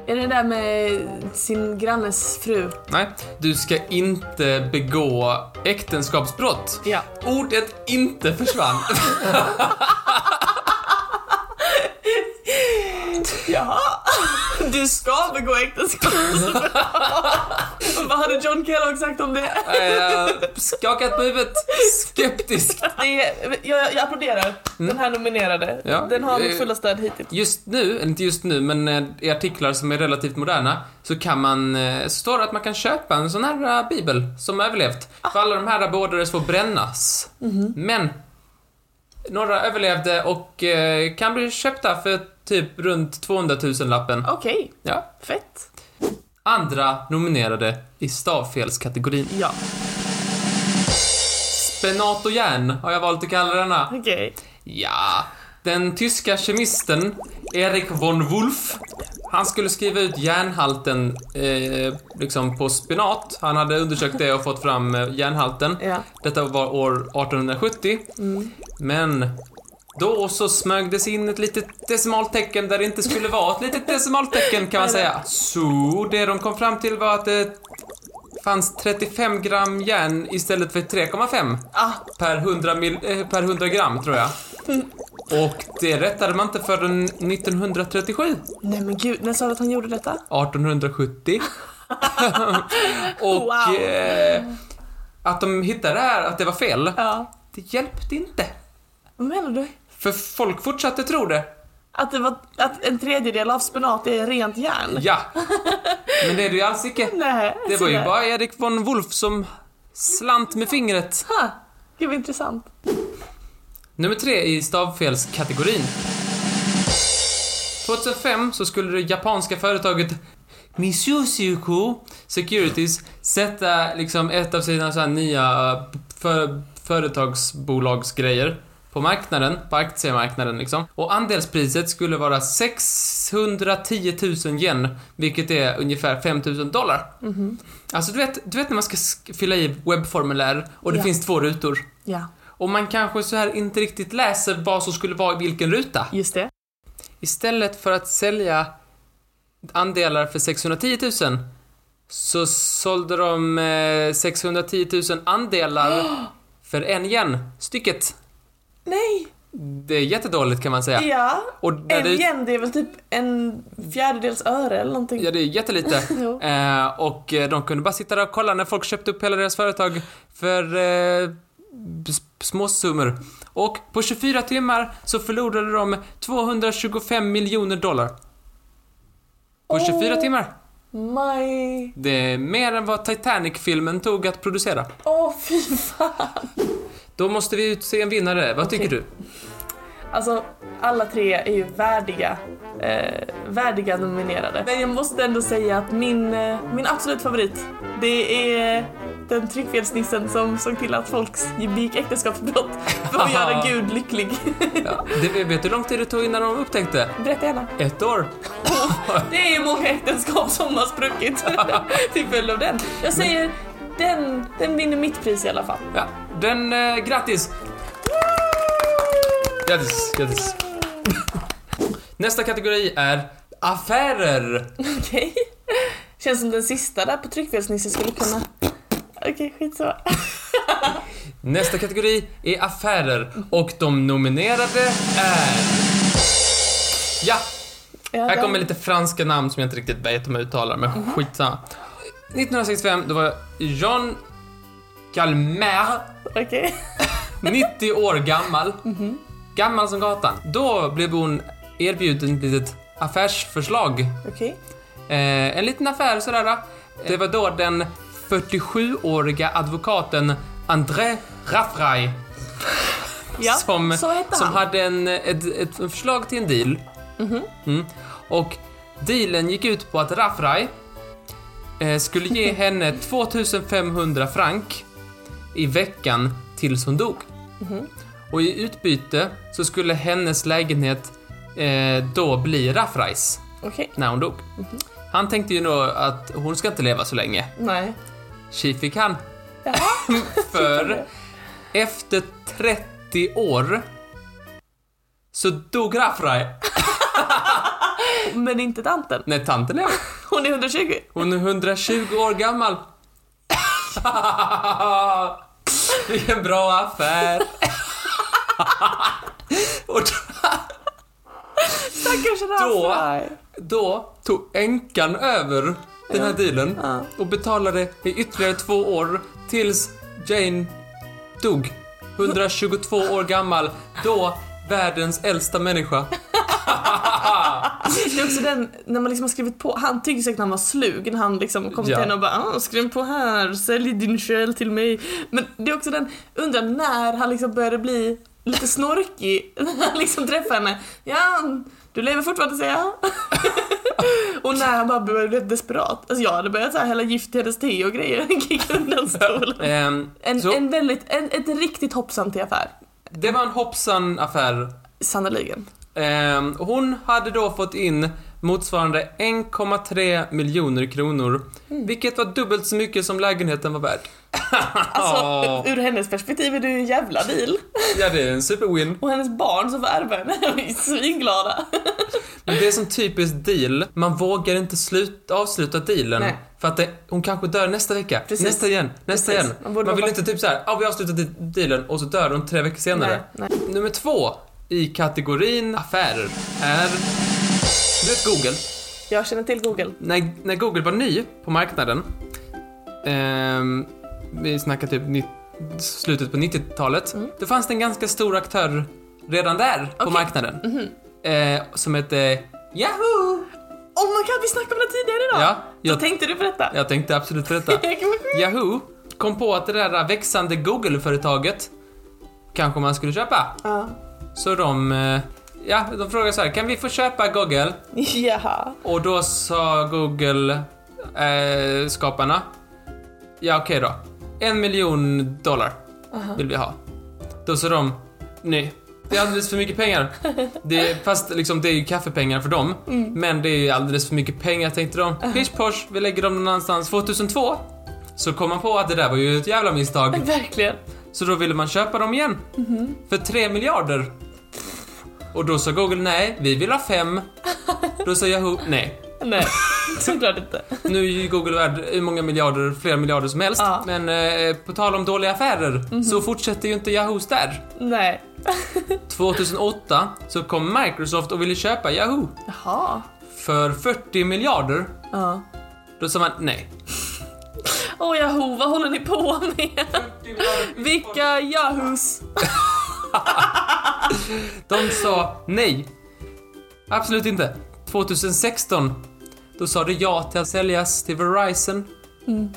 Är det där med sin grannes fru? Nej. Du ska inte begå äktenskapsbrott. Ja. Ordet inte försvann. Jaha! Du ska begå äktenskap! Och Vad hade John Kellogg sagt om det? eh, skakat på huvudet. Skeptisk. det är, jag, jag applåderar den här nominerade. Ja. Den har mitt Eh, fulla stöd hittills. Just nu, eller inte just nu, men eh, i artiklar som är relativt moderna så kan man, eh, står det att man kan köpa en sån här eh, bibel som överlevt. För alla de här beordrades får brännas. Men, några överlevde och eh, kan bli köpta för typ runt 200 000-lappen. Okej, Ja. fett. Andra nominerade i stavfelskategorin. Ja, Spenat och järn har jag valt att kalla denna. okej. Ja, den tyska kemisten Erik von Wolff. Han skulle skriva ut järnhalten eh, liksom på spenat. Han hade undersökt det och fått fram eh, järnhalten. Ja. Detta var år 1870. Men då så smög det sig in ett litet decimaltecken där det inte skulle vara ett litet decimaltecken kan man säga. Så det de kom fram till var att det fanns 35 gram järn istället för 3,5 Ah, per 100, mil, eh, per 100 gram tror jag. Och det rättade man inte förrän 1937. nej men gud, när sa du att han gjorde detta? 1870. Och Wow. eh, att de hittade det här, att det var fel, Ja. det hjälpte inte. Vad menar du? För folk fortsatte tro det. Att, det var, att en tredjedel av spenat är rent järn? Ja. Men det är det ju alls icke. Nej, Det var ju sådär. bara Erik von Wolf som slant med fingret. Ha, gud vad intressant. Nummer tre i stavfelskategorin. 2005 så skulle det japanska företaget Mitsubishi Securities sätta liksom ett av sina så här nya för, företagsbolagsgrejer på marknaden, på aktiemarknaden liksom. Och andelspriset skulle vara 610 000 yen, vilket är ungefär 5 000 dollar. Alltså du vet, du vet när man ska sk- fylla i webbformulär och det Ja. finns två rutor. Ja, Och man kanske så här inte riktigt läser vad som skulle vara i vilken ruta. just det. Istället för att sälja andelar för 610 000 så sålde de eh, 610 000 andelar för en yen stycket. Nej! Det är jättedåligt kan man säga. Ja. Och när En det, yen, det är väl typ en fjärdedels öre eller någonting. ja, det är jättelite. Jo. Eh, och eh, de kunde bara sitta där och kolla när folk köpte upp hela deras företag för eh, s- små summor. Och på 24 timmar så förlorade de 225 miljoner dollar. På 24 Åh. timmar. My... Det är mer än vad Titanic-filmen tog att producera. Åh fy fan! Då måste vi utse en vinnare. Vad tycker du? Alltså, alla tre är ju värdiga, eh, värdiga nominerade. Men jag måste ändå säga att min, eh, min absolut favorit, det är den tryckfelsnissen som såg till att folks begick äktenskapsbrott för att göra Gud lycklig. Ja, det, vet du hur lång tid det tog innan de upptäckte? Berätta gärna. Ett år. Det är ju många äktenskap som har spruckit till följd av den. Jag säger, den, den vinner mitt pris i alla fall. Ja, den... Eh, grattis! Grattis, grattis. Nästa kategori är affärer. Okej. Känns som den sista där på tryckfelsnisse skulle kunna... Okej, skitsamma. Nästa kategori är affärer och de nominerade är... Ja, Ja, här den- kommer lite franska namn som jag inte riktigt vet om jag uttalar, men skitsamma. 1965, då var Jean Calmer Okej. 90 år gammal. Gammal som gatan. Då blev hon erbjuden ett litet affärsförslag. Okej. Eh, en liten affär sådär. Det var då den 47-åriga advokaten André Raffray Ja, som, så hette som han. hade en, ett, ett förslag till en deal. Mm. Och dealen gick ut på att Raffray eh, skulle ge henne 2500 frank i veckan tills hon dog. Och i utbyte så skulle hennes lägenhet eh, då bli Raffrays Okej. när hon dog. Han tänkte ju då att hon ska inte leva så länge. Nej. Tji fick han. Ja. För efter 30 år så dog Raffray. Men inte tanten. Nej, tanten lever. Hon är 120. Hon är 120 år gammal. Vilken bra affär. Och Stackars Då- Raffray. då tog änkan över den här dealen Ja. och betalade i ytterligare två år tills Jane dog. 122 år gammal, då världens äldsta människa. Det är också den, när man liksom har skrivit på, han tyckte säkert han var slug när han liksom Ja. kom till henne och bara ah, skriv på här, sälj din själ till mig. Men det är också den, undrar när han liksom började bli lite snorkig när han liksom träffade henne. Ja, du lever fortfarande säger jag. och när han bara började bli desperat. Alltså jag hade börjat så här hälla gift i hennes te och grejer, kicka undan stolen. Ehm, En, så en väldigt, en, ett riktigt hoppsan till affär. det var en hoppsan affär. Sannerligen. Ehm, hon hade då fått in motsvarande 1,3 miljoner kronor, Mm. vilket var dubbelt så mycket som lägenheten var värd. Alltså, Ja. ur hennes perspektiv är det ju en jävla deal. Ja, det är en superwin. Och hennes barn som får ärva henne är svinglada. Men det är som typiskt deal, man vågar inte sluta, avsluta dealen. Nej. För att det, hon kanske dör nästa vecka, Precis. nästa igen, nästa Precis. igen. Man, Man borde vill bara- inte typ såhär, ja vi avslutar de- dealen och så dör hon tre veckor senare. Nej, Nummer två i kategorin affärer är... Du vet Google? Jag känner till Google. När, när Google var ny på marknaden, ehm, vi snackar typ ni, slutet på 90-talet, då fanns det en ganska stor aktör redan där på Mm. Okej. Mhm. marknaden. Eh, som hette Yahoo! Oh my god, vi snackade om det tidigare idag! Ja, Då jag, tänkte du berätta. jag tänkte absolut på detta. Yahoo kom på att det där växande Google-företaget kanske man skulle köpa. Ja. Så de, eh, ja, de frågade så här, kan vi få köpa Google? Jaha. Och då sa Google-skaparna, eh, skaparna, ja okej då, en miljon dollar vill vi ha. Då sa de, nej, det är alldeles för mycket pengar. Det, är- fast liksom, det är ju kaffepengar för dem, men det är ju alldeles för mycket pengar tänkte de. Pish posh, vi lägger dem någon annanstans. 2002 så kom man på att det där var ju ett jävla misstag. Verkligen. Så då ville man köpa dem igen. För 3 miljarder. Och då sa Google nej, vi vill ha fem. Då sa Yahoo nej. Nej, såklart inte. Nu är ju Google värd hur många miljarder, fler miljarder som helst. Ja. Mhm. Men eh, på tal om dåliga affärer så fortsätter ju inte Yahoos där. Nej. 2008 så kom Microsoft och ville köpa Yahoo Jaha. för 40 miljarder. Ja. Då sa man nej. Åh Yahoo, vad håller ni på med? Vilka Yahoos? De sa nej. Absolut inte. 2016, då sa det ja till att säljas till Verizon. Mm.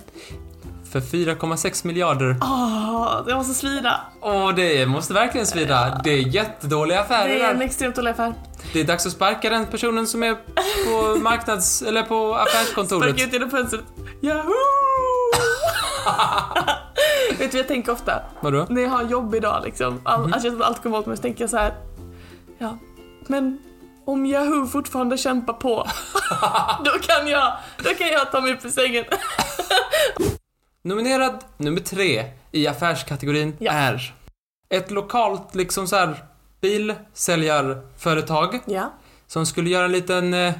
För 4,6 miljarder. Ah. Åh, det måste slida. Åh, det måste verkligen svida. Det är jättedåliga affärer Det är en där. extremt dålig affär. Det är dags att sparka den personen som är på marknads... eller på affärskontoret. Sparka ut genom fönstret. Yahoo! Vet du vad jag tänker ofta? Vadå? När jag har jobb idag liksom. All, Alltså jag tror att allt kommer åt mig så tänker jag så här. Ja, men om Yahoo fortfarande kämpar på. då kan jag, då kan jag ta mig upp ur sängen. Nominerad nummer tre i affärskategorin Ja. är ett lokalt liksom så här bilsäljarföretag ja, som skulle göra en liten eh,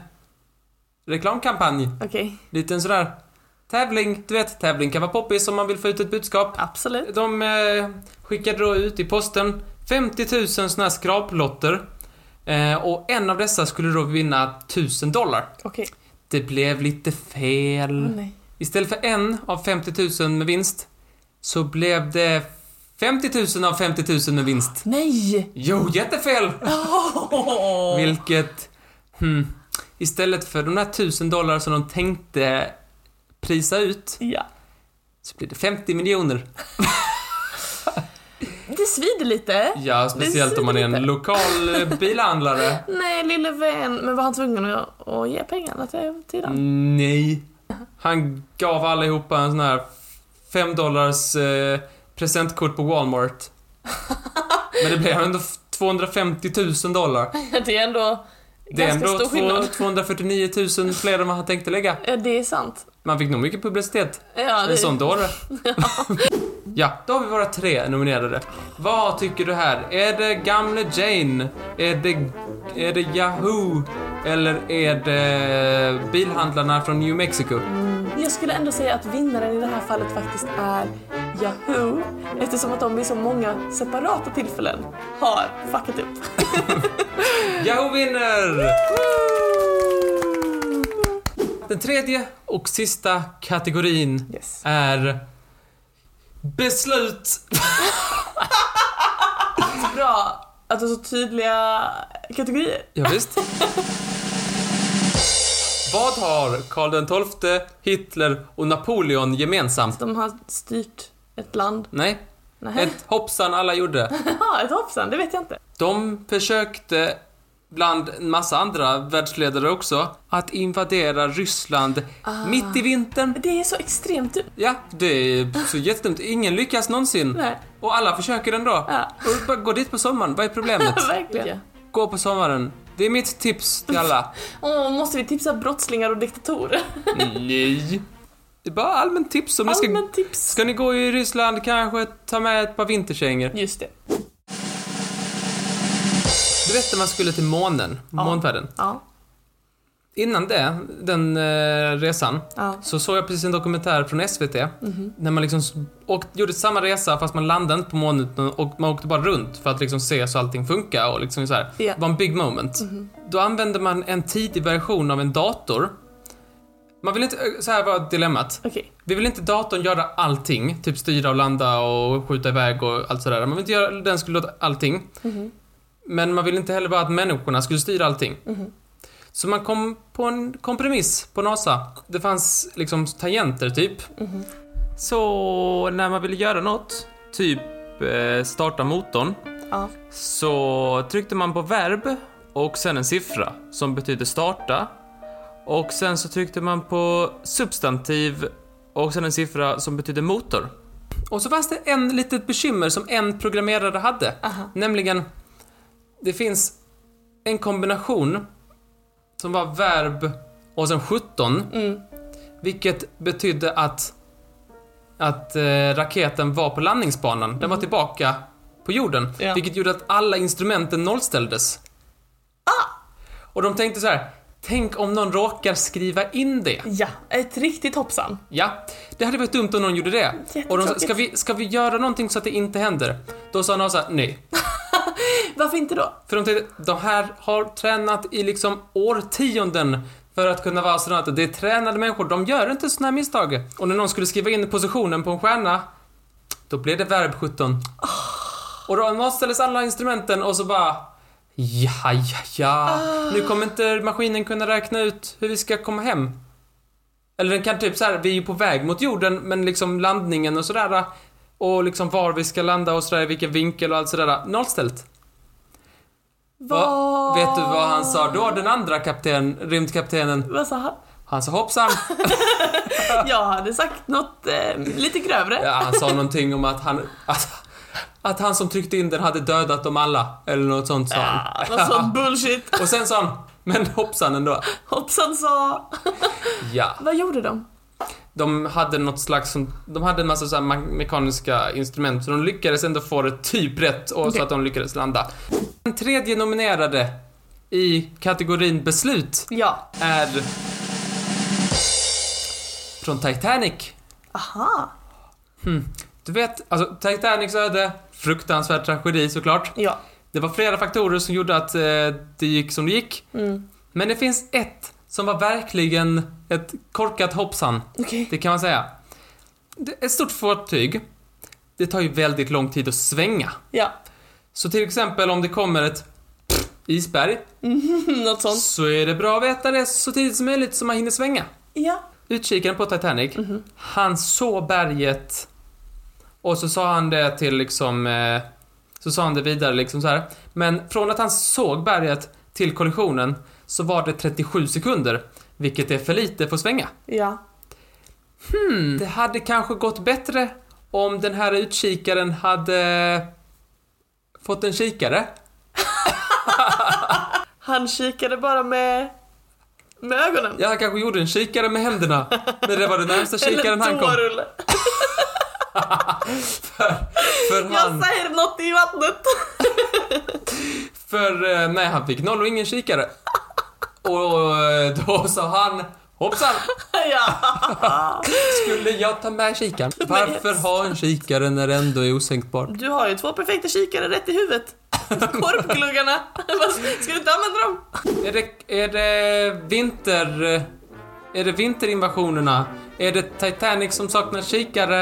reklamkampanj. okej. Liten sån där tävling. Du vet, tävling kan vara poppis om man vill få ut ett budskap. Absolut. De eh, skickade då ut i posten 50 000 såna här skraplotter. Eh, och en av dessa skulle då vinna 1000 dollar. Okej. Det blev lite fel. Åh, nej. Istället för en av 50 000 med vinst så blev det 50 000 av 50 000 med vinst. Nej! Jo, jättefel! Åh. Vilket... Hmm, istället för de där 1000 dollar som de tänkte prisa ut Ja. så blir det 50 miljoner. Det svider lite. Ja, speciellt om man är en lite. lokal eh, bilhandlare. Nej, lille vän. Men var han tvungen att, att ge pengarna till, till den? Nej. Han gav allihopa en sån här 5 dollars eh, presentkort på Walmart. Men det blev ändå 250 000 dollar. Det är ändå Det är ganska ändå stor skillnad. två- 249 000 fler än vad han tänkte lägga. Ja, det är sant. Man fick nog mycket publicitet. Ja, En det... sån dåre. ja, då har vi våra tre nominerade. Vad tycker du här? Är det Gamle Jane? Är det, är det Yahoo? Eller är det bilhandlarna från New Mexico? Mm. Jag skulle ändå säga att vinnaren i det här fallet faktiskt är Yahoo eftersom att de vid så många separata tillfällen har fuckat upp. Yahoo vinner! Den tredje och sista kategorin Yes. är beslut. Bra att du har så tydliga kategorier. Ja, visst. Vad har Karl den XII, Hitler och Napoleon gemensamt? De har styrt ett land. Nej, Nej. ett hoppsan alla gjorde. Ja, ett hoppsan, det vet jag inte. De försökte, bland en massa andra världsledare också, att invadera Ryssland Ah. mitt i vintern. Det är så extremt typ. dumt. Ja, det är så jättedumt. Ingen lyckas någonsin. Nej. Och alla försöker ändå. Ja. Och bara Gå dit på sommaren, vad är problemet? Verkligen. Gå på sommaren. Det är mitt tips till alla. Åh, måste vi tipsa brottslingar och diktatorer? Nej. Det är bara allmänt tips om ni ska... Allmänt tips. Ska ni gå i Ryssland kanske ta med ett par vinterkängor? Just det. Du vet när man skulle till månen, månfärden. Ja. Innan det, den eh, resan, Ja. så såg jag precis en dokumentär från SVT. När man liksom s- åkt, gjorde samma resa fast man landade inte på månen utan och man åkte bara runt för att liksom se så allting funkar och liksom så här. Ja. Det var en big moment. Då använde man en tidig version av en dator. Man vill inte, så här var dilemmat. Okej. Vi vill inte datorn göra allting, typ styra och landa och skjuta iväg och allt sådär. Man vill inte göra, den skulle låta allting. Men man vill inte heller bara att människorna skulle styra allting. Så man kom på en kompromiss på NASA. Det fanns liksom tangenter typ. Mhm. Så när man ville göra något, typ eh, starta motorn, Ja. så tryckte man på verb och sen en siffra som betyder starta. Och sen så tryckte man på substantiv och sen en siffra som betyder motor. Och så fanns det en litet bekymmer som en programmerare hade. Aha. Nämligen, det finns en kombination som var verb och sen 17. Mm. Vilket betydde att, att eh, raketen var på landningsbanan. Den var tillbaka på jorden. Mhm. Ja. Vilket gjorde att alla instrumenten nollställdes. Och de tänkte så här. Tänk om någon råkar skriva in det. Ja, ett riktigt hoppsan. Ja, det hade varit dumt om någon gjorde det. Och de sa, Jättetråkigt. ska vi, ska vi göra någonting så att det inte händer? Då sa NASA nej. Varför inte då? För de tänkte, de här har tränat i liksom årtionden för att kunna vara astronauter. Det är tränade människor, de gör inte sådana här misstag. Och när någon skulle skriva in positionen på en stjärna, då blev det verb 17. Och då nollställdes alla instrumenten och så bara Ja, ja, ja. Nu kommer inte maskinen kunna räkna ut hur vi ska komma hem. Eller den kan typ så här, vi är ju på väg mot jorden, men liksom landningen och sådär. Och liksom var vi ska landa och sådär, vilken vinkel och allt sådär. Nollställt. Vad... Vet du vad han sa då, den andra kapten, rymdkaptenen? Vad sa han? Han sa hoppsan. Jag hade sagt något eh, lite grövre. Ja, han sa någonting om att han... Att, att han som tryckte in den hade dödat dem alla. Eller något sånt sa Ah, han. något sånt bullshit. Och sen sa han, men hoppsan ändå. Hoppsan sa... Ja. Vad gjorde de? De hade något slags, som- de hade en massa så här me- mekaniska instrument så de lyckades ändå få det typ rätt och Okej. så att de lyckades landa. Den tredje nominerade i kategorin beslut Ja. är från Titanic. Aha. Du vet, alltså Titanics öde, fruktansvärd tragedi såklart. Ja. Det var flera faktorer som gjorde att eh, det gick som det gick. Mm. Men det finns ett som var verkligen ett korkat hoppsan. Okej. Det kan man säga. Det- Ett stort fartyg, det tar ju väldigt lång tid att svänga. Ja. Så till exempel om det kommer ett isberg, något sånt. så är det bra att veta det så tidigt som möjligt så man hinner svänga. Ja. Utkikaren på Titanic, han såg berget och så sa han det till liksom, eh, så sa han det vidare liksom så här. Men från att han såg berget till kollisionen så var det 37 sekunder, vilket är för lite för att svänga. Ja. Det hade kanske gått bättre om den här utkikaren hade fått en kikare. Han kikade bara med... Med ögonen. Ja, han kanske gjorde en kikare med händerna, men det var den närmsta kikaren han kom. tårulle. För han, Jag säger något i vattnet. för, eh, nej, han fick noll och ingen kikare. Och eh, då sa han, hoppsan, ja. skulle jag ta med kikaren? Varför ha en kikare när det ändå är osänkbart? Du har ju två perfekta kikare rätt i huvudet. Korpgluggarna. Vad- Ska du inte använda dem? Är det, är det vinter... eh, Är det vinterinvasionerna? Är det Titanic som saknar kikare?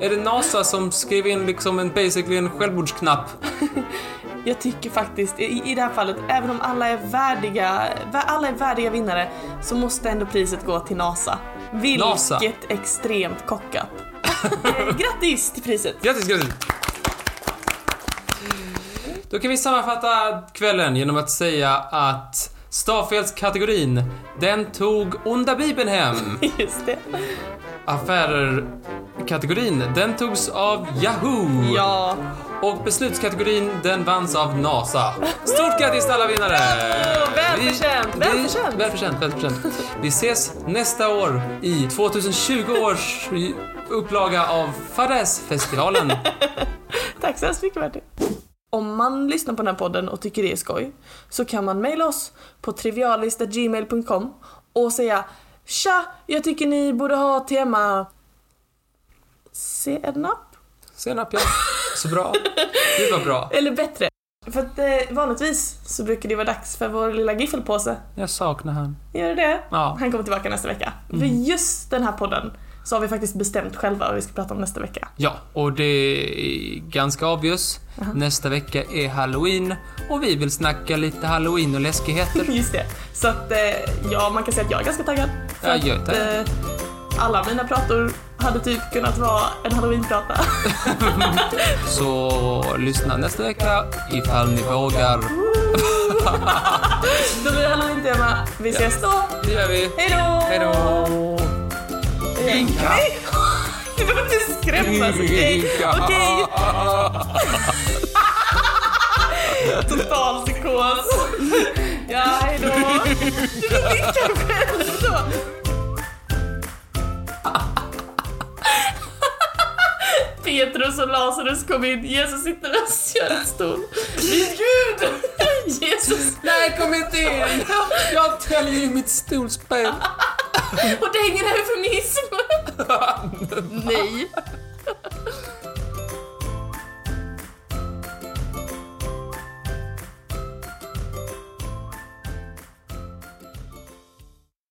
Är det NASA som skrev in liksom en basically en självmordsknapp? Jag tycker faktiskt, i, i det här fallet, även om alla är värdiga, vä- alla är värdiga vinnare, så måste ändå priset gå till NASA. Vilket NASA. extremt kockat. Eh, Grattis till priset! Grattis, grattis! Då kan vi sammanfatta kvällen genom att säga att stavfelskategorin, den tog onda bibeln hem. Just det. Affärer-kategorin, den togs av Yahoo! Ja. Och beslutskategorin, den vanns av NASA. Stort grattis till alla vinnare! Välförtjänt, Vi- välförtjänt. Vi, välförtjänt, välförtjänt. Vi ses nästa år i 2020 års upplaga av Fadäsfestivalen. Tack så hemskt mycket Martin. Om man lyssnar på den här podden och tycker det är skoj så kan man mejla oss på trivialist.gmail.com och säga Tja, jag tycker ni borde ha tema senap Senap, ja. Så bra. Gud vad bra. eller bättre. För att eh, vanligtvis så brukar det vara dags för vår lilla giffelpåse. Jag saknar han. Gör det det? Ja. Han kommer tillbaka nästa vecka. För Mm. just den här podden så har vi faktiskt bestämt själva vad vi ska prata om nästa vecka. Ja, och det är ganska obvious. Nästa vecka är halloween och vi vill snacka lite halloween och läskigheter. Just det. Så att eh, ja, man kan säga att jag är ganska taggad. För Ja, jag är att, taggad. eh, alla mina prator hade typ kunnat vara en halloweenprata. Så lyssna nästa vecka ifall ni vågar. Då blir det halloweentema. Vi ses då. Det gör vi. Hej då! Hej då! Jinka! Du behöver inte skrämmas, okej? Okej! Total psykos. Ja, hej då. Du vinkar själv då. Petrus och Lazarus kom in, Jesus sitter i en köttstol. Min gud! Jesus! Nej, kom inte in! Jag täljer ju mitt stolsben. Och det hänger eufemism! Nej.